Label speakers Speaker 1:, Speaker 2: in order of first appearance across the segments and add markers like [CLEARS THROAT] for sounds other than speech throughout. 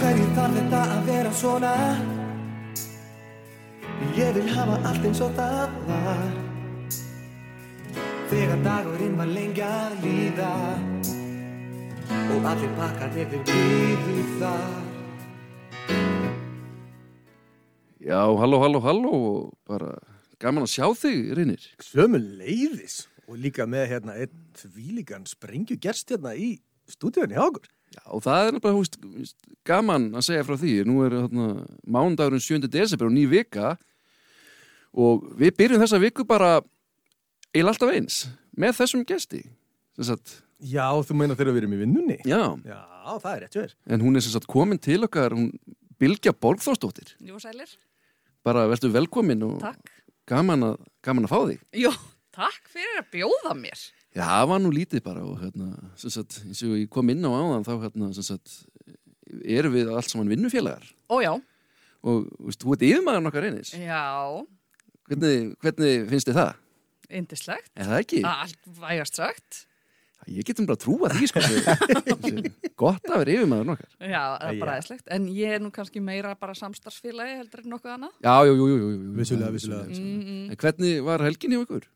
Speaker 1: hverju þarf þetta að vera svona Ég vil hafa allt eins og það var Þegar dagurinn var lengi að líða Og allir pakkarnir þeir býðu þar
Speaker 2: Já, halló, halló, halló og bara gaman að sjá þig, Reynir.
Speaker 3: Sömu leiðis og líka með hérna einn tvílíkan sprengju gerst hérna í stúdíunni hjá okkur.
Speaker 2: Já, það er nefnilega, þú veist, þú veist, gaman að segja frá því. Nú er þarna mánudagurinn 7. desember og ný vika og við byrjum þessa viku bara eil alltaf eins með þessum gesti. Sem sagt,
Speaker 3: Já, þú meina þegar við erum í vinnunni?
Speaker 2: já,
Speaker 3: Já, það er rétt verið.
Speaker 2: en hún er sem sagt komin til okkar, hún Bilgja Borgþórsdóttir.
Speaker 4: Jú, sælir,
Speaker 2: Bara verður velkomin og
Speaker 4: takk.
Speaker 2: gaman að, gaman að fá þig.
Speaker 4: Jú, takk fyrir að bjóða mér.
Speaker 2: Já, það var nú lítið bara og hérna, sem sagt, eins og ég kom inn á áðan þá hérna, sem sagt, erum við allt saman vinnufélagar
Speaker 4: Ó já,
Speaker 2: og veist, þú ert yfirmaður okkar einis.
Speaker 4: Eh. já,
Speaker 2: Hvernig, hvernig finnst þið það?
Speaker 4: indislegt,
Speaker 2: Er það ekki?
Speaker 4: Ah, allt vægast sagt.
Speaker 2: Ég getum bara að trúa því, sko. [LAUGHS] sem- sem Gott að vera yfirmaður okkar.
Speaker 4: Já, það er bara
Speaker 3: Jæja.
Speaker 4: aðeinslegt. En ég er nú kannski meira bara samstarfsfélagi heldur en nokkuð annað.
Speaker 2: Já, jú, jú, jú. jú, jú.
Speaker 3: Vissulega,
Speaker 2: Það er
Speaker 3: vissulega.
Speaker 4: Mm, mm,
Speaker 2: En hvernig var helgin hjá ykkur?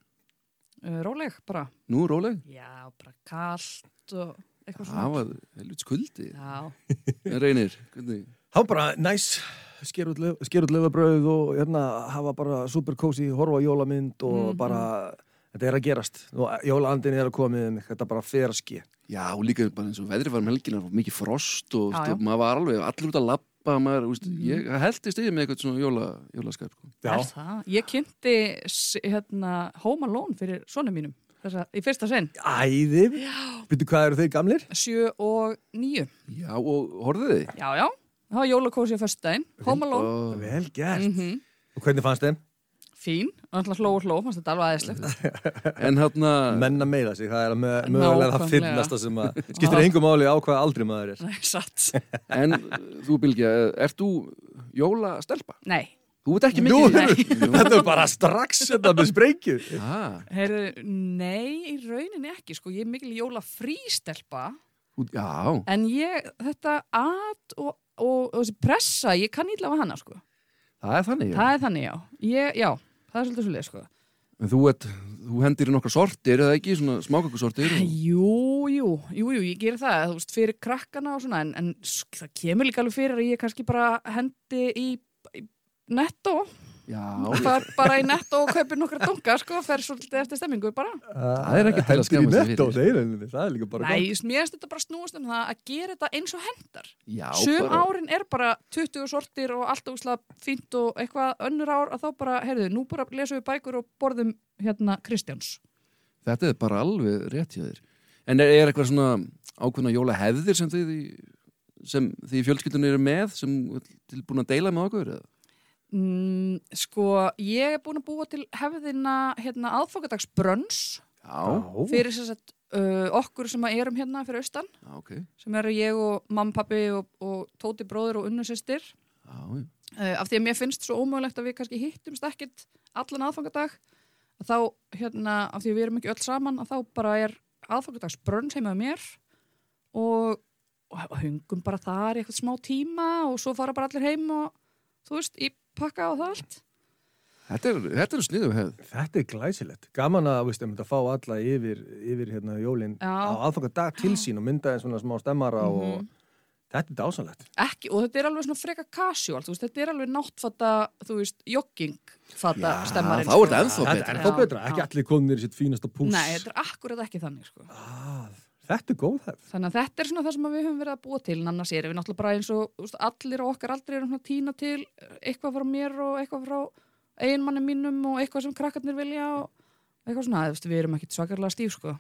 Speaker 4: uh, róleg, bara.
Speaker 2: Nú, róleg?
Speaker 4: Já, bara kallt og eitthvað
Speaker 2: Það
Speaker 4: svona.
Speaker 2: var helvits
Speaker 4: [LAUGHS]
Speaker 2: kuldi.
Speaker 4: Já,
Speaker 2: En reynir, hvernig?
Speaker 3: Há bara næs, sker út lauf- sker út löfabröð og hérna hafa bara super cozy, horfa á jólamynd og
Speaker 4: Mhm.
Speaker 3: bara, þetta er að gerast. Nú, jólaandin er að koma með mig, þetta bara fer að ske.
Speaker 2: Já, og líka bara eins og veðrið var um helgina og mikið frost og
Speaker 4: Já,
Speaker 2: já,
Speaker 4: já. Mm.
Speaker 2: maður var alveg allir út að labba maður, úst, ég heldist yfir með eitthvað svona jóla, jólaskap sko.
Speaker 4: er það. Ég kynnti s- hérna, Home Alone fyrir sonum mínum þessa, í fyrsta sinn.
Speaker 3: Æði, byrju hvað eru þeir gamlir?
Speaker 4: Sjö og níu.
Speaker 2: Já, og horfðu þið?
Speaker 4: Já, já. Það var jólakósi á föstudaginn. Home Alone.
Speaker 2: Og,
Speaker 3: Vel gert.
Speaker 2: Mhm.
Speaker 4: Mm
Speaker 3: Og hvernig fannst þeim?
Speaker 4: Fín, alltaf hló og hló, fannst þetta alveg aðeinslegt.
Speaker 2: en hérna
Speaker 3: Menna meira sig, það er með- mögulega það
Speaker 4: Nákvæmlega.
Speaker 3: finnasta sem
Speaker 2: [LAUGHS]
Speaker 3: að skiptir engum máli á hvað aldri maður er.
Speaker 4: Nei, satt.
Speaker 2: en þú Bilgja, ert þú jólastelpa?
Speaker 4: Nei,
Speaker 2: Þú ert ekki
Speaker 3: Nú,
Speaker 2: mikið Jú.
Speaker 3: þetta er bara strax þetta með sprengju.
Speaker 2: Ah,
Speaker 4: heyrðu, nei, í rauninni ekki, sko, ég er mikil jólafrístelpa,
Speaker 2: þú, Já,
Speaker 4: en ég, þetta at og, og, og þessi pressa, ég kann ítla á hana, sko.
Speaker 2: það er þannig já.
Speaker 4: Það er þannig, já. Ég, já, það er svolítið svolítið, sko.
Speaker 2: En þú, ert, þú hendir í nokkra sortir eða ekki, svona smákakusortir og...
Speaker 4: Jú, jú, jú, jú, ég ger það, þú veist, fyrir krakkana og svona, en, en sk- það kemur líka alveg fyrir að ég kannski bara hendi í, í netto,
Speaker 2: Já,
Speaker 4: far bara í netto og kaupir nokkra dunga, sko, fer svolítið eftir stemmingu bara.
Speaker 3: Það
Speaker 2: er ekki til að skammast sín fyrir.
Speaker 3: fyrir. Það er líka bara
Speaker 4: Nei,
Speaker 3: gott.
Speaker 4: ég- mér finnst þetta bara snúast um það að gera þetta eins og hendar.
Speaker 2: já
Speaker 4: Sum
Speaker 2: bara-
Speaker 4: árin er bara 20 sortir og allt óslag fínt og eitthvað önnur ár að þá bara, heyrðu, nú bara lesum við bækur og borðum hérna Kristjáns.
Speaker 2: Þetta er bara alveg rétt hjá þér. En er, er eitthvað svona ákveðna jóla hefðir sem þið, í- sem þið í fjölskyldunni eru með, sem tilbúin að deila með okkur? Eða?
Speaker 4: Mm, sko, ég er búin að búa til hefðina hérna aðfokadagsbrönns
Speaker 2: Já,
Speaker 4: fyrir sem sagt uh, okkur sem að erum hérna fyrir austan,
Speaker 2: já, ok.
Speaker 4: sem eru ég og mamma, pappi og, og Tóti bróður og unnu sýstir.
Speaker 2: Já, já.
Speaker 4: uh, af því að mér finnst svo ómögulegt að við kannski hittumst ekkit allan aðfangadag að þá, hérna, af því að við erum ekki öll saman að þá bara er aðfangadagsbrönn sem er mér og, og hungum bara þar í eitthvað smá tíma og svo fara bara allir heim og þú veist, í pakka og það allt
Speaker 2: Þetta er, þetta er sniðu hefð.
Speaker 3: Þetta er glæsilegt. Gaman að, veist, um, að fá alla yfir, yfir hérna, jólinn
Speaker 4: Já. Mhm.
Speaker 3: á aðfanga dag til sín og mynda þeim svona smá stemmara og þetta er dásanlegt.
Speaker 4: ekki, og þetta er alveg svona freka casual þú veist, þetta er alveg náttfata, þú veist jogging fata
Speaker 2: Já,
Speaker 4: stemmarinn
Speaker 2: þá er þetta ennþá
Speaker 4: sko.
Speaker 3: Þetta er
Speaker 2: betra.
Speaker 3: þá betra. Ekki
Speaker 4: Já.
Speaker 3: allir komnir í sitt fínasta pús.
Speaker 4: Nei, þetta er akkurat ekki þannig sko.
Speaker 3: Ah, Þetta er góð hefð.
Speaker 4: Þannig að þetta er svona það sem að við höfum verið að búa til en annars erum við náttúrulega bara eins og úst, allir og okkar aldrei erum svona tína til eh, eitthvað frá mér og eitthvað frá eiginmanni mínum og eitthvað sem krakkarnir vilja og eitthvað svona, þú veist, við erum ekkit svakarlega stíf sko.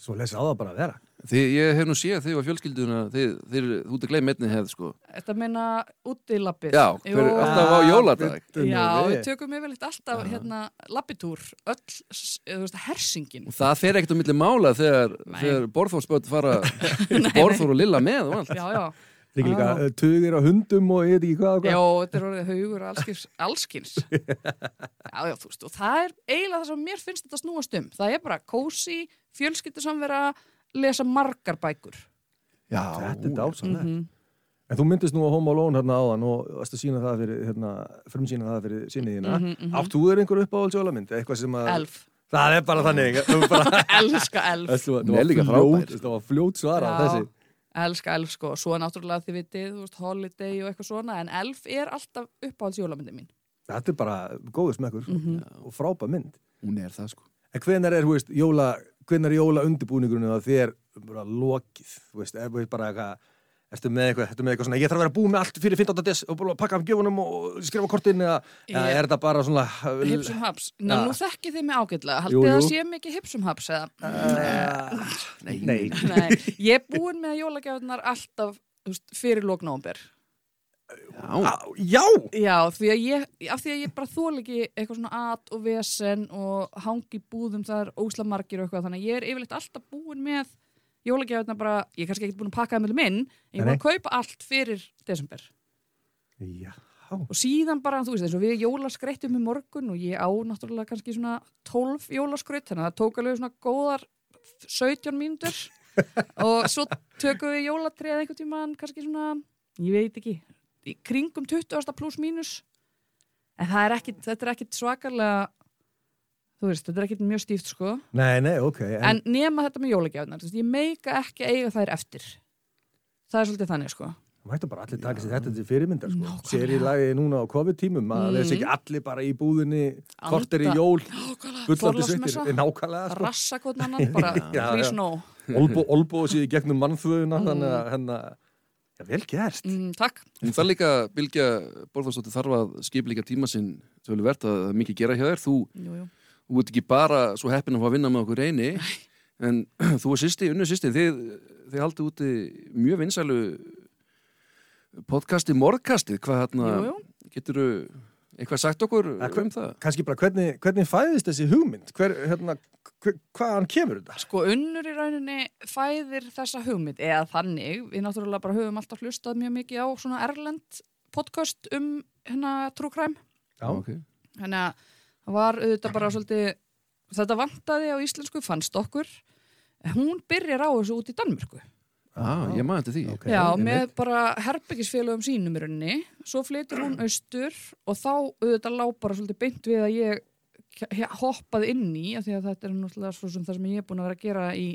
Speaker 3: Svo lesa á það bara að vera.
Speaker 2: Þið, ég hef nú séð að þið var fjölskylduna, þið, þið, þið, þú ert að gleyma einni hefð, sko.
Speaker 4: Þetta meina út í lappið.
Speaker 2: Já, hver,
Speaker 4: Jó.
Speaker 2: alltaf á jóladag.
Speaker 3: Bíddu Ah, nú
Speaker 4: Já,
Speaker 3: við.
Speaker 4: við tökum yfirleitt alltaf hérna lappitúr, öll, s- eða, þú veist, hersingin.
Speaker 2: Og það fer ekkert á milli mála þegar,
Speaker 4: Nei.
Speaker 2: þegar borðfórspöld [LAUGHS] fara borðfór og lilla með og allt.
Speaker 4: Já, já,
Speaker 3: Líka líka
Speaker 4: Ah.
Speaker 3: eh, tugir á hundum og ég veit ekki hvað og
Speaker 4: já,
Speaker 3: hvað.
Speaker 4: þetta er orðið haugur allskins,
Speaker 3: [LAUGHS]
Speaker 4: allskins. Já, já, þú veist, og það er eiginlega það sem mér finnst þetta snúast um. Það er bara kósi, fjölskyldusamvera, lesa margar bækur.
Speaker 2: Já,
Speaker 4: Mhm.
Speaker 3: Þetta er dásanlegt. En þú myndist nú á Home Alone hérna áðan og varst að sína það fyrir, hérna, frumsýna það fyrir sinni þína.
Speaker 4: Mhm, mhm.
Speaker 3: Átt þú þér einhver uppáhalds jólamynd? Eitthvað sem að...
Speaker 4: Elf, [LAUGHS]
Speaker 3: Það er bara þannig. þú
Speaker 2: [LAUGHS]
Speaker 3: bara-
Speaker 4: elska elf
Speaker 3: Þessu var-
Speaker 2: Hún er líka
Speaker 3: þetta var fljót-
Speaker 2: frábær.
Speaker 3: Þetta var fljót svara
Speaker 4: Já.
Speaker 3: þessi.
Speaker 4: elska elf sko, svo náttúrulega þið vitið þú veist, holiday og eitthvað svona en elf er alltaf uppáhalds jólamyndi mín
Speaker 3: Þetta er bara góður smekkur sko, og frábær mynd.
Speaker 2: Hún er það sko
Speaker 3: En hvenar er, þú veist, jóla, hvenar er jóla undirbúningurinn að þér bara lokið, þú veist, er, þú veist bara eitthvað, ertu með eitthvað, ertu með eitthvað svona, ég þarf að vera búið með allt fyrir 15. des og búið að pakka af gjöfunum og skrifa kortin eða, eða
Speaker 4: Ég-
Speaker 3: er þetta bara svona...
Speaker 4: Hipsum haps, Ná,
Speaker 3: Ja.
Speaker 4: nú þekkið þið mig ágætlega
Speaker 3: Jú,
Speaker 4: haldið það
Speaker 3: jú.
Speaker 4: sé mikið hipsum haps eða
Speaker 3: Nei, nei.
Speaker 4: Nei, ég er búin með jólagjafunar alltaf þú veist, fyrir lok nóvumber
Speaker 2: Já,
Speaker 3: Á, Já!
Speaker 4: Já, því að ég, af því að ég bara þól ekki eitthvað svona at og vesen og hangi í búðum þar ósla margir og eitthvað þannig að ég er yfirleitt alltaf búin með jólagjafunar bara, ég er kannski ekkert búin að pakka það með minn, en ég er búin að kaupa allt fyrir desember
Speaker 3: Já.
Speaker 4: og síðan bara, þú veist, eins og við jólaskreittum í morgun og ég á náttúrulega kannski svona 12 jólaskreitt, þannig að það tók alveg svona góðar 17
Speaker 3: [LAUGHS]
Speaker 4: mínútur og svo tökum við jólatrið einhvern tímann, kannski svona ég veit ekki, í kringum 20 pluss mínus en það er ekkit, þetta er ekkit svakarlega þú veist, þetta er ekkit mjög stíft sko,
Speaker 3: Nei, nei, ok. En,
Speaker 4: en nema þetta með jólagjafnar, þú veist, ég meika ekki að eiga þær eftir það er svolítið þannig sko
Speaker 3: mættu bara allir taka sér þetta til fyrirmyndar sko.
Speaker 4: Nákvæmlega.
Speaker 3: sér í lagi núna á COVID-tímum að mm. þessi ekki allir bara í búðinni kortir í
Speaker 4: Anda.
Speaker 3: jól, bullandi
Speaker 4: Þorláksmessa.
Speaker 3: sveitir nákvæmlega, sko.
Speaker 4: rassa hvort annan,
Speaker 3: [LAUGHS]
Speaker 4: bara
Speaker 3: Já, já.
Speaker 4: please no
Speaker 3: Olbo, olbo sér í gegnum mannþvöðuna þannig að hérna, já, vel gert
Speaker 4: mm, Takk
Speaker 2: hún þarf líka, Bilgja Borfarsdóttir þarf að skipa líka tíma sinn töluvert að það er mikið að gera hjá þér þú,
Speaker 4: jú, jú.
Speaker 2: þú ert ekki bara svo heppin að fá að vinna með okkur reyni en [CLEARS THROAT] þú og sýsti, unnu sýsti þið, þið haldið úti mjög vinsælu podcasti morgkastið, hvað hérna
Speaker 4: Jú,
Speaker 2: geturðu eitthvað sagt okkur
Speaker 3: Að hver-
Speaker 2: um það?
Speaker 3: kannski bara hvernig, hvernig fæðist þessi hugmynd hver, hérna, hver, hvaðan kemur þetta
Speaker 4: Sko unnur í rauninni fæðir þessa hugmynd eða þannig, við náttúrulega bara höfum alltaf hlustað mjög mikið á svona erlend podcast um hérna trúkræm
Speaker 3: Já.
Speaker 2: Ok.
Speaker 4: þannig að það var auðvitað bara svolítið þetta vantaði á íslensku fannst okkur hún byrjar á þessu út í Danmörku
Speaker 2: Ah, ég maður þetta því
Speaker 3: Ok,
Speaker 4: Já, með
Speaker 3: einmitt.
Speaker 4: bara herbyggisfélögum sínum í rauninni, svo flytur hún austur og þá auðvitað lá bara svolítið beint við að ég k- hoppaði inn í, af því að þetta er náttúrulega svo sem það sem ég er búin að vera að gera í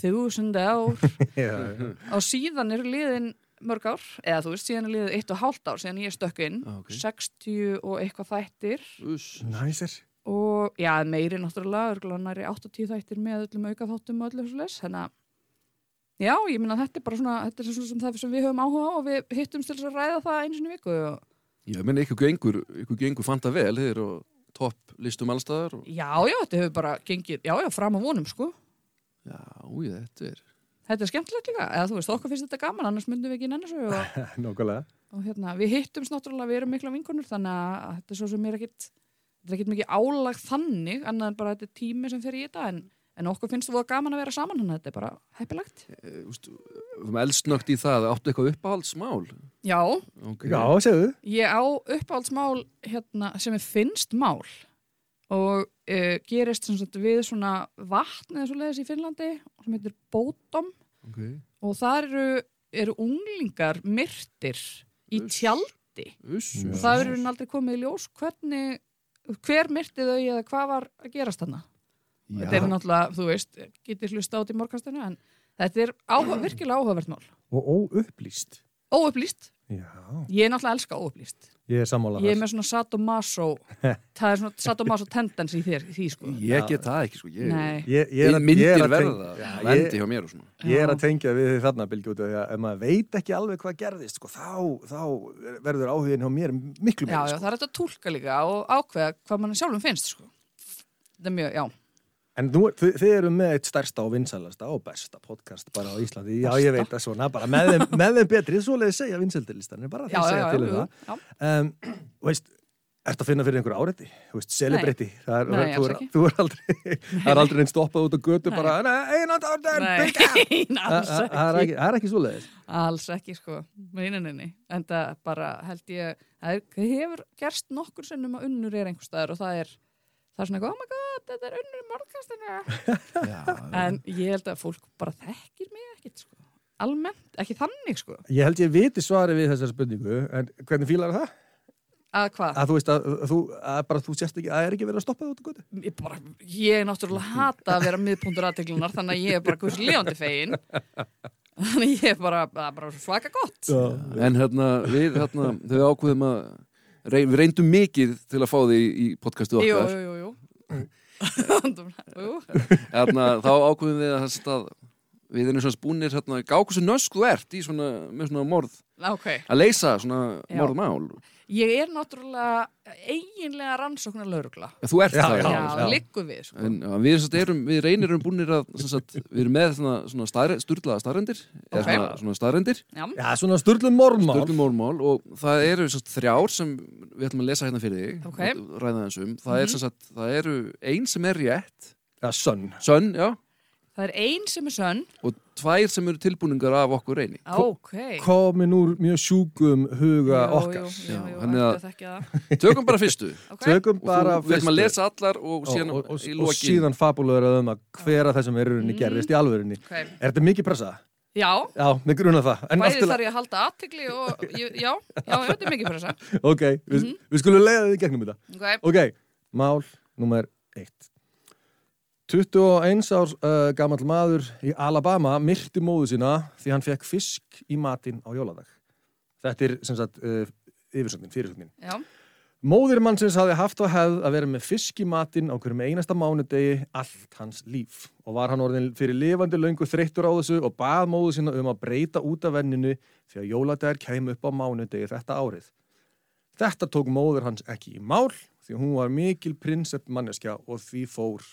Speaker 4: þúsund ár
Speaker 3: já, [LAUGHS] já.
Speaker 4: og síðan eru liðin mörg ár, eða þú veist, síðan er liðið eitt og hálft ár síðan ég stökk inn,
Speaker 2: Ah, ok.
Speaker 4: 60 og eitthvað þættir
Speaker 2: Uss.
Speaker 3: næsir
Speaker 4: og já, meiri náttúrulega, örgulega næri 80 þættir með öllum aukaþáttum og öllu þessu les, þannig að já, ég minna þetta er bara svona, þetta er svona sem það sem við höfum áhuga á og við hittumst til þess að ræða það einu sinni í viku og
Speaker 2: Já, menn ykkur gengur, ykkur gengur fanta vel, þið eru á topp listum allstaðar og...
Speaker 4: já, já, þetta hefur bara gengið, já, já, fram á vonum sko,
Speaker 2: Já, úi, þetta er
Speaker 4: þetta er skemmtilegt líka, eða þú veist, okkur finnst þetta gaman, annars myndum við ekki nenni svo og
Speaker 3: [LAUGHS] nákvæmlega
Speaker 4: og hérna, við hittumst náttúrulega, við erum mikla vinkonur þannig að þetta er svo sem er ekkit þetta er ekkit mikið álag þannig annað en bara þetta er tími sem fer í þetta en, en okkur finnst þú að gaman að vera saman hann þetta er bara heppilegt.
Speaker 2: eh, úst, um eldsnögt í það, áttu eitthvað uppáhaldsmál
Speaker 4: Já,
Speaker 2: okay.
Speaker 3: já, segðu
Speaker 4: ég á uppáhaldsmál hérna, sem er finnst mál og uh, gerist sem sagt, við svona vatn eða svo leiðis í Finnlandi sem heitir Bótom
Speaker 2: okay.
Speaker 4: og þar eru, eru unglingar myrtir í
Speaker 2: Uss.
Speaker 4: tjaldi
Speaker 2: Uss,
Speaker 3: Og
Speaker 4: og
Speaker 2: uss,
Speaker 4: það
Speaker 2: uss.
Speaker 4: verður henni aldrei komið í ljós hvernig, hver myrti þau eða hvað var að gerast þarna
Speaker 2: Já.
Speaker 4: þetta er náttúrulega, þú veist, getur hlusta át í morgastinu en þetta er áhuga, virkilega áhugavert mál
Speaker 3: og óupplýst
Speaker 4: óupplýst,
Speaker 3: já,
Speaker 4: ég er náttúrulega elska óupplýst
Speaker 3: ég er sammála
Speaker 4: ég er
Speaker 3: þar.
Speaker 4: með svona sadomaso
Speaker 3: [LAUGHS]
Speaker 4: það er svona sadomaso tendens í þér því sko
Speaker 2: Ég get það ekki, sko Ég,
Speaker 4: Nei.
Speaker 3: ég, ég,
Speaker 2: ég
Speaker 3: er að- ég er
Speaker 2: myndir
Speaker 3: að
Speaker 2: verða
Speaker 3: tengja- Já, ég-
Speaker 2: vendi hjá mér og svona
Speaker 3: Ég er að tengja við þig þarna, Bilgi, út af því að ef maður veit ekki alveg hvað gerðist, sko, þá, þá verður áhugin hjá mér miklu
Speaker 4: já,
Speaker 3: meira,
Speaker 4: já,
Speaker 3: sko.
Speaker 4: það er þetta að túlka líka og ákveða hvað mann sjálfum finnst sko þetta er mjög, já
Speaker 3: En nú, er- þið, þið eru með eitt stærsta og vinsalasta og besta podcast bara á Íslandi. Já, ég veit það svona, bara með þeim, með þeim betri, svoleiði segja vinsaldilistanir, bara þið
Speaker 4: já, já,
Speaker 3: segja til
Speaker 4: já,
Speaker 3: um
Speaker 4: jú,
Speaker 3: það.
Speaker 4: já.
Speaker 3: Um,
Speaker 4: [LAUGHS]
Speaker 3: veist, ertu að finna fyrir einhver áreiti? Þú veist, celebrity. Það er,
Speaker 4: Nei,
Speaker 3: þú,
Speaker 4: alls
Speaker 3: er,
Speaker 4: ekki.
Speaker 3: þú er aldrei,
Speaker 4: [LAUGHS]
Speaker 3: það er aldrei einn stoppað út á götu bara, nei, einand árdar, bygga!
Speaker 4: Nei, [LAUGHS] alls
Speaker 3: Það
Speaker 4: ekki.
Speaker 3: það er ekki, það er ekki svoleiðis.
Speaker 4: Alls ekki sko, meininni, en það bara held ég, það er, það hefur gerst nokkur sinnum að unnur er einhver staðar og það er, það er svona, eitthvað, oh my god,
Speaker 3: [LAUGHS]
Speaker 4: þetta er unnur í morgkastinu.
Speaker 2: Já,
Speaker 4: En ég held að fólk bara þekkir mig ekkit sko, almennt, ekki þannig sko
Speaker 3: Ég held ég viti svari við þessar spurningu, en hvernig fílar það?
Speaker 4: að hvað,
Speaker 3: Að þú veist að, þú, að bara þú sérst ekki, að er ekki verið að stoppa það út á götu?
Speaker 4: ég, bara, ég er náttúrulega hata að vera miðpuntur aðteglunar þannig að ég er bara guðs lefandi fegin þannig að ég er bara, það er bara svaka gott
Speaker 3: Já.
Speaker 2: En hérna, við hérna, þau ákveðum að reyn, við reyndum mikið til að fá þig í, í podcastu
Speaker 4: jú,
Speaker 2: okkar.
Speaker 4: jú, jú, jú. jú.
Speaker 2: Hérna, þá ákveðum við að, þess að við erum svona búinir hérna, gá hversu nösk þú ert í svona, með svona morð,
Speaker 4: ok
Speaker 2: að leysa svona
Speaker 4: Já.
Speaker 2: morðmál.
Speaker 4: ég er náttúrulega eiginlega rannsóknar laurugla
Speaker 2: Þú ert
Speaker 3: Já,
Speaker 2: það.
Speaker 4: já,
Speaker 3: já.
Speaker 4: já. liggum við sko.
Speaker 2: En, já, við, sem sagt, erum, við reynir erum búinir að sem sagt, við erum með svona, svona stærre, sturlaða staðrendir eða
Speaker 4: Ok.
Speaker 2: svona, svona staðrendir
Speaker 4: já,
Speaker 3: Já, svona styrlum mormál.
Speaker 2: störlum málmál og það eru sem sagt, þrjár sem við ætlum að lesa hérna fyrir þig
Speaker 4: Ok. Mhm.
Speaker 2: og ræða þess um, það, er, sem sagt, það eru ein sem er rétt,
Speaker 3: Já, sönn.
Speaker 2: sönn, já
Speaker 4: það er ein sem er sönn
Speaker 2: og tvær sem eru tilbúningar af okkur reyni
Speaker 4: ok
Speaker 3: Komin úr mjög sjúkum huga
Speaker 4: Jú,
Speaker 3: okkar.
Speaker 4: jú, jú,
Speaker 2: Já,
Speaker 4: jú,
Speaker 2: þannig
Speaker 4: ætti
Speaker 2: að-
Speaker 4: að þekkja það.
Speaker 2: tökum bara
Speaker 4: [LAUGHS]
Speaker 2: fyrstu
Speaker 4: Ok.
Speaker 3: Tökum
Speaker 2: og þú,
Speaker 3: bara
Speaker 2: við ætlum að
Speaker 3: fyrstu.
Speaker 2: lesa allar og síðan
Speaker 3: og, og,
Speaker 2: í
Speaker 3: og
Speaker 2: lokin
Speaker 3: síðan fabulöður um að hvera það sem er í rauninni gerðist í alvörinni.
Speaker 4: Ok.
Speaker 3: Er þetta mikið pressa?
Speaker 4: já,
Speaker 3: Já, mig grunna það. En allt
Speaker 4: bæði
Speaker 3: til að-
Speaker 4: þarf ég að halda aðtegli og ég, já, já, auðvitað mikið fyrir þess
Speaker 3: Ok, við, við skulum leiða þið í gegnum þetta.
Speaker 4: okay.
Speaker 3: Ok, mál nummer eitt. 21 árs uh, gamall maður í Alabama myrti móðu sína því hann fekk fisk í matinn á jóladag. Þetta er sem sagt uh, yfirsöndin, fyrirsöndin.
Speaker 4: já,
Speaker 3: Móðir mannsins hafði haft á hefð að vera með fisk í matinn á hverjum einasta mánudegi allt hans líf og var hann orðin fyrir lifandi löngu þreyttur á þessu og bað móður sína um að breyta út af venninu því að jóladagar kæmi upp á mánudegi þetta árið. Þetta tók móður hans ekki í mál því hún var mikil prinsepp manneskja og því fór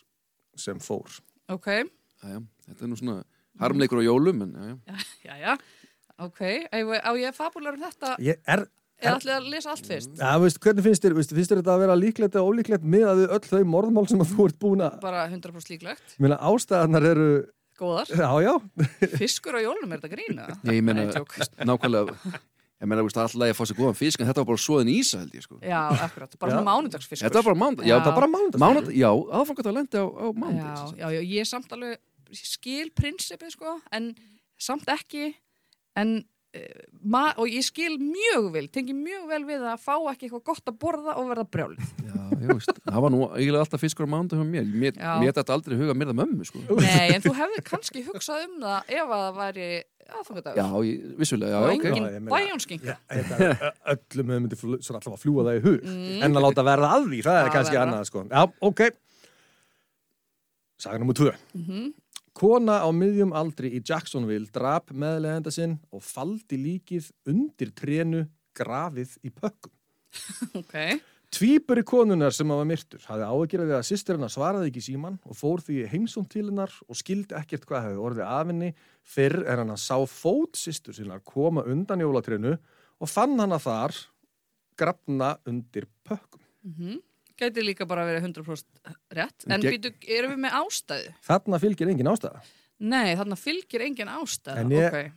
Speaker 3: sem fór.
Speaker 4: ok
Speaker 2: já, já, þetta er nú svona harmleikur á jólum en, já, já.
Speaker 4: já, já, ok Eigum við- á ég að fabúlar um þetta
Speaker 3: Ég er,
Speaker 4: eða ætlið að lesa allt fyrst
Speaker 3: ja, veist, hvernig finnst þér, veist, finnst þér þetta að vera líklegt eða ólíklegt miðað við öll þau morðmál sem að þú ert búin að,
Speaker 4: bara 100% líklegt,
Speaker 3: minna ástæðanar eru,
Speaker 4: góðar
Speaker 2: [LAUGHS]
Speaker 3: já já,
Speaker 4: fiskur á jólunum, er þetta grína?
Speaker 2: Nei, ég meina,
Speaker 4: Nei, tjók.
Speaker 2: [LAUGHS] nákvæmlega ég meina, veist, alltaf ég fá sér góðan fisk en þetta var bara svoðin ísa held ég sko
Speaker 4: já, akkurat, bara
Speaker 3: Já.
Speaker 4: svona mánudagsfiskur
Speaker 2: Þetta var bara mándag, sko. já,
Speaker 4: Já.
Speaker 2: já,
Speaker 3: það er bara mánudag.
Speaker 2: mándag, já aðfangat að lendi á, á mándag
Speaker 4: já, já, já, ég er samt alveg ég skil prinsipið sko en samt ekki en, uh, ma- og ég skil mjög vel tengi mjög vel við að fá ekki eitthvað gott að borða og verða
Speaker 2: [LAUGHS]
Speaker 4: brjálið
Speaker 2: Já, ég veist, það var nú eiginlega alltaf fiskur á mándag hjá mér, mér,
Speaker 4: Já.
Speaker 2: mér þetta aldrei í hug að mér það mömmu, sko.
Speaker 4: nei, en þú hefði kannski hugsað um það ef að það væri aðfangadagur
Speaker 2: Já, ég, vissulega,
Speaker 4: og
Speaker 2: já, ok.
Speaker 3: Já, ég
Speaker 4: engin
Speaker 3: meina-
Speaker 4: bæjónskinga
Speaker 3: Já, þetta er ö- öllum hefur myndi fl- svona alltaf að fljúa það í hug en að láta verða að því, það er
Speaker 4: Já,
Speaker 3: kannski
Speaker 4: verða.
Speaker 3: annað sko. Já, ok Saga nr. 2 Kona á miðjum aldri í Jacksonville drap meðlegenda sinn og faldi líkið undir trénu grafið í pökkum
Speaker 4: ok,
Speaker 3: Tvíburi konunar sem hafa myrtur hafði áhyggjur af því að sýstir hennar svaraði ekki í síman og fór því heimsum til hennar og skildi ekkert hvað hefði orðið af henni fyrr en hann sá fót sýstur sinnar koma undan jólatrinu og fann hana þar grafna undir pökkum.
Speaker 4: gæti líka bara að vera 100% rétt en
Speaker 2: Gegn-
Speaker 4: býtu, erum við með ástæðu?
Speaker 3: Þarna fylgir engin ástæða.
Speaker 4: nei, þarna fylgir engin ástæða
Speaker 3: En ég-
Speaker 4: ok.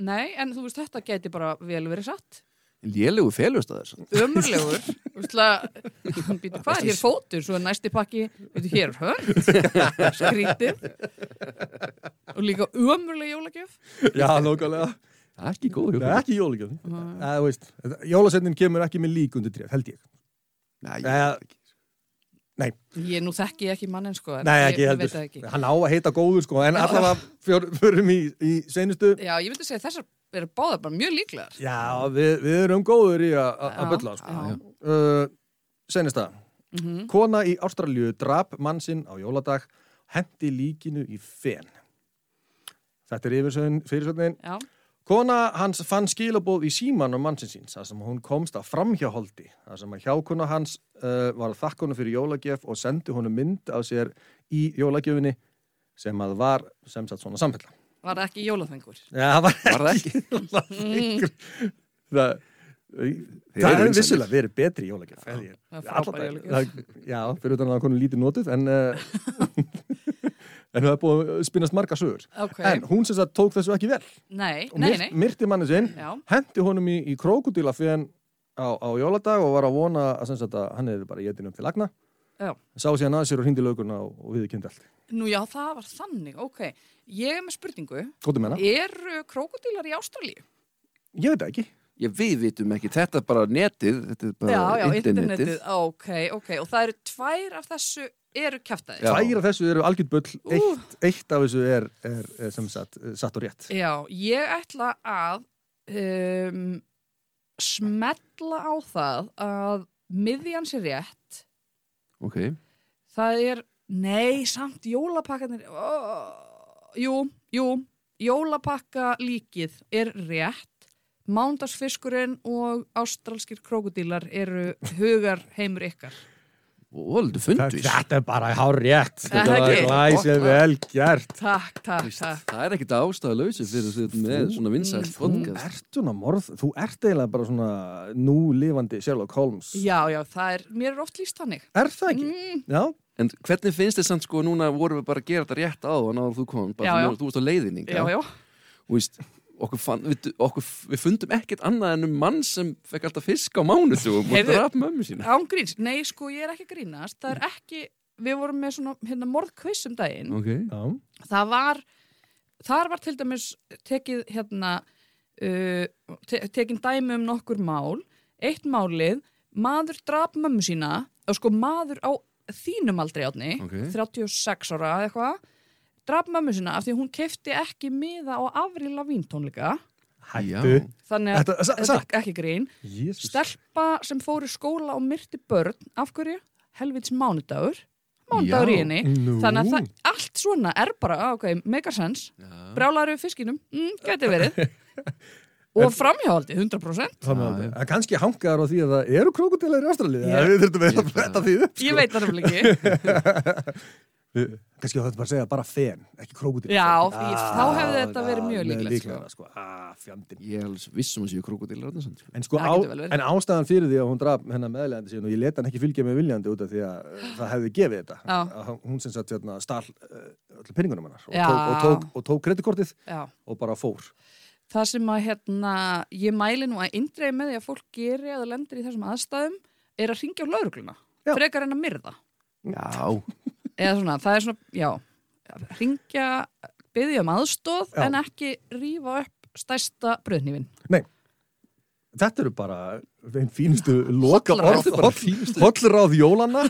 Speaker 4: nei, en þú veist þetta gæti bara vel verið satt
Speaker 2: Lélegu felustæðar, sann.
Speaker 3: [LAUGHS]
Speaker 4: ömurlegur [LAUGHS] Býtu, hvað er hér fótur? Svo er næsti pakki, býtu, hér er hönd
Speaker 3: [LAUGHS]
Speaker 4: skrítið og líka ömurleg jólagjöf
Speaker 3: Já, lókulega.
Speaker 2: Það er ekki
Speaker 3: Nei,
Speaker 2: góð hug.
Speaker 3: ekki jólagjöfn. Það, þú veist, jólasetnin kemur ekki með lík undir tréð, held ég.
Speaker 2: Nei, ég-
Speaker 3: Nei,
Speaker 4: ég nú þekki ég ekki mannin sko en
Speaker 3: nei
Speaker 4: ég,
Speaker 3: ekki
Speaker 4: ég
Speaker 3: heldur.
Speaker 4: veit það ekki.
Speaker 3: Hann á að heita góður sko, en allavega fjör- förum í, í seinustu
Speaker 4: Já, ég myndi segja að þessar eru báðar bara mjög líklegar
Speaker 3: Já, við, við erum góður í að- að að
Speaker 4: Já,
Speaker 3: bylla sko.
Speaker 4: já. Mhm.
Speaker 3: uh, Senasta Kona í Ástralju drap mann sinn á jóladag hendi líkinu í fen Þetta er yfirsögn fyrirsögnin
Speaker 4: Já,
Speaker 3: Kona hans fann skilabóð í símanum mannsins síns þar sem hún komst að framhjáholdi þar sem að hjákona hans uh, var þakkonu fyrir jólagjöf og sendi honum mynd af sér í jólagjöfinni sem að var sem sagt svona samfella
Speaker 4: var það ekki jólaþengur
Speaker 3: Já, það var [LAUGHS]
Speaker 2: Var það ekki?
Speaker 3: jólaleikur það,
Speaker 2: eru
Speaker 3: það hefur
Speaker 2: vinsælir.
Speaker 3: vissulega verið betri jólagjörð
Speaker 4: það er frábær jólagjöf.
Speaker 3: Já, fyrir utan að konu lítið notuð en, uh,
Speaker 4: [LAUGHS]
Speaker 3: en það er búið að spinnast marga sögur
Speaker 4: Mm, Ok,
Speaker 3: en hún sem sagt tók þessu ekki vel
Speaker 4: nei,
Speaker 3: og
Speaker 4: nei,
Speaker 3: myrt-
Speaker 4: nei
Speaker 3: myrti manni sinn
Speaker 4: Já,
Speaker 3: hendi honum í, í krókudíla fyrir hann á, á jóladag og var að vona að, sem sagt, að hann er bara í jedinum til agna
Speaker 4: Já.
Speaker 3: sá síðan að sér og hindi löguna og, og við kynnt allt
Speaker 4: Nú já, það var þannig, ok. Ég er með spurningu.
Speaker 3: Góttu með hana?
Speaker 4: Eru krokodílar í Ástralíu?
Speaker 3: Ég veit það ekki
Speaker 2: Já, við vitum ekki, þetta er bara netið, þetta er bara
Speaker 4: Já, já,
Speaker 2: internetið.
Speaker 4: internetið. Ok, ok. Og það eru tvær af þessu eru kjæftæðir.
Speaker 2: Já.
Speaker 3: Tvær af þessu eru algjörn
Speaker 4: Ú.
Speaker 3: bull eitt, eitt af þessu er, er, er sem sagt eh, satt og rétt
Speaker 4: Já, ég ætla að um, smetla á það að miðjan sé rétt.
Speaker 2: Ok,
Speaker 4: Það er, nei, samt jólapakkanir, oh, jú, jú, jólapakka líkið er rétt. Mándagsfiskurinn og ástralskir krokodílar eru hugar heimur ykkar.
Speaker 2: og heldur fundvís.
Speaker 3: Þetta er bara hár rétt
Speaker 4: Er
Speaker 3: Þetta
Speaker 4: það
Speaker 3: var
Speaker 4: ekki?
Speaker 3: glæsið vel gert
Speaker 4: Takk, takk, takk.
Speaker 2: Það er ekkit ástæðalauðsir fyrir því með svona vinsælt
Speaker 4: Mm.
Speaker 3: Þú
Speaker 2: podcast.
Speaker 3: ert svona morð, þú ert eiginlega bara svona núlifandi Sherlock Holmes
Speaker 4: Já, Mm. já, það er, mér er oft líst þannig.
Speaker 3: Er það ekki? Já,
Speaker 2: En hvernig finnst þið samt sko núna vorum við bara að gera þetta rétt á þannig að þú kom, bara
Speaker 4: Já, já.
Speaker 2: þú- þú veist á leiðinning.
Speaker 4: Já, já,
Speaker 2: Og veist, okkur fann, við, okkur, við fundum ekkert annað en um mann sem fekk alltaf fisk á mánudugum og
Speaker 4: Heyrðu.
Speaker 2: draf mömmu sína.
Speaker 4: ángríns. Nei, sko, ég er ekki að grínast. Það er ekki, við vorum með svona, hérna, morðkviss um daginn.
Speaker 2: Ok,
Speaker 3: já,
Speaker 4: það var þar var til dæmis tekið hérna uh, te tekin dæmi um nokkur mál eitt málið, maður drap mömmu sína, eða sko maður á þínum aldrei átni
Speaker 2: Ok.
Speaker 4: 36 ára eða eitthvað drap mömmu sína af því að hún kefti ekki miða á afrila víntónleika
Speaker 2: já.
Speaker 3: hættu
Speaker 4: þannig að
Speaker 3: Þetta, sa,
Speaker 4: þetta
Speaker 3: sa,
Speaker 4: er ekki grín
Speaker 3: Jesus.
Speaker 4: stelpa sem fór í skóla og myrti börn, af hverju? helvits mánudagur mánudagur
Speaker 2: Já.
Speaker 4: í henni
Speaker 3: Nú.
Speaker 4: þannig að það, allt svona er bara ah, ok, megasens,
Speaker 2: Já.
Speaker 4: brálar við fiskinum mm, geti verið
Speaker 3: [LAUGHS]
Speaker 4: og framhjáhaldi 100%
Speaker 3: Þannig
Speaker 2: Já, já.
Speaker 3: að- að kannski hangaðar á því að það eru krokodillar í Ástralíu
Speaker 4: Já.
Speaker 3: Við þurfum
Speaker 2: Ég
Speaker 3: eiginlega að
Speaker 2: bara-
Speaker 3: bretta því upp
Speaker 4: ég veit það nefnilega
Speaker 3: [LAUGHS]
Speaker 4: ekki,
Speaker 3: Við- Kannski þetta bara að segja bara fen, ekki krokodillar
Speaker 4: já, ég, þá hefði þetta verið mjög líklegt sko.
Speaker 3: líklega, sko. ah, fjandinn.
Speaker 2: Ég er alveg vissum að séu krokodílar þarna samt, sko.
Speaker 3: En, sko,
Speaker 4: Það
Speaker 3: á,
Speaker 4: getur vel verið.
Speaker 3: en ástæðan fyrir því að hún draf hennar meðlegandi síðan og ég leta hann ekki fylgja með viljandi út af því að uh, það hefði gefið þetta
Speaker 4: Já.
Speaker 3: Að hún sem sagt hérna, stál uh, öllu pinningunum hennar og
Speaker 4: Já.
Speaker 3: tók, og, tók, og tók kreditkortið
Speaker 4: já.
Speaker 3: og bara fór
Speaker 4: það sem að hérna, ég mæli nú að indreið með því að fólk geri eða lendir í þessum aðstæðum er að ringja á laurugluna
Speaker 3: Já.
Speaker 4: frekar en að myrða
Speaker 2: Já,
Speaker 4: eða svona, það er svona, já ringja, byggja um aðstóð
Speaker 3: Já.
Speaker 4: en ekki rífa upp stærsta bröðnýfin
Speaker 3: Þetta eru bara einn fínustu loka
Speaker 4: Hollráð.
Speaker 3: orð Hollráð
Speaker 4: [LAUGHS]
Speaker 3: jólana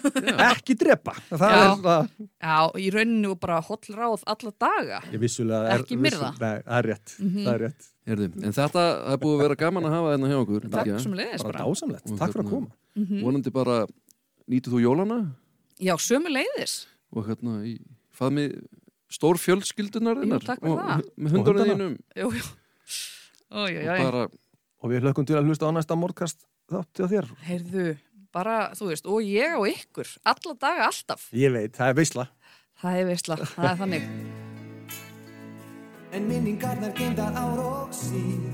Speaker 3: ekki drepa það
Speaker 4: Já.
Speaker 3: er það
Speaker 4: já, í rauninu bara hollráð alla daga
Speaker 3: Ég vissulega er,
Speaker 4: Ekki myrða. Mhm.
Speaker 3: vissu- Nei, það er rétt, það er rétt.
Speaker 2: Herðu, en þetta það er búið að vera gaman að hafa þennan hjá okkur.
Speaker 4: takk Mhm.
Speaker 2: Bylgja.
Speaker 4: sem leiðis
Speaker 3: bara
Speaker 4: bara
Speaker 3: dásamlegt,
Speaker 2: Og
Speaker 3: takk fyrir að
Speaker 2: hérna-
Speaker 3: koma
Speaker 2: Vonandi bara nýtið þú jólana
Speaker 4: já, sömu leiðis
Speaker 2: og hérna í faðmi stór fjölskyldunar
Speaker 4: Jú, takk fyrir
Speaker 2: og
Speaker 4: það.
Speaker 2: með hundunum
Speaker 3: Og
Speaker 2: þínum
Speaker 4: Jú, jú. Ó, jú,
Speaker 2: og
Speaker 4: jú.
Speaker 2: bara
Speaker 3: og við hlökkum til að hlusta á næsta morgkast þátti á þér
Speaker 4: Heyrðu, bara, þú veist, og ég og ykkur, alla daga alltaf.
Speaker 3: Ég veit, það er veisla
Speaker 4: Það er veistla, það er þannig.
Speaker 1: En minningarnar geimdar á róksi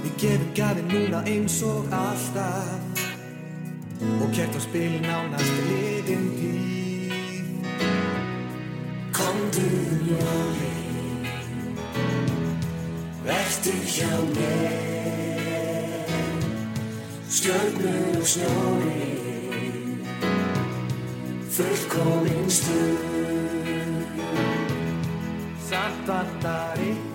Speaker 1: Við gefum gafin núna eins og alltaf Og kert á spili nánast liðin tíð Komdu um jólin Vertu hjá mér Stjörnur og snjóri Fullkomin stund Satt vantar ykkur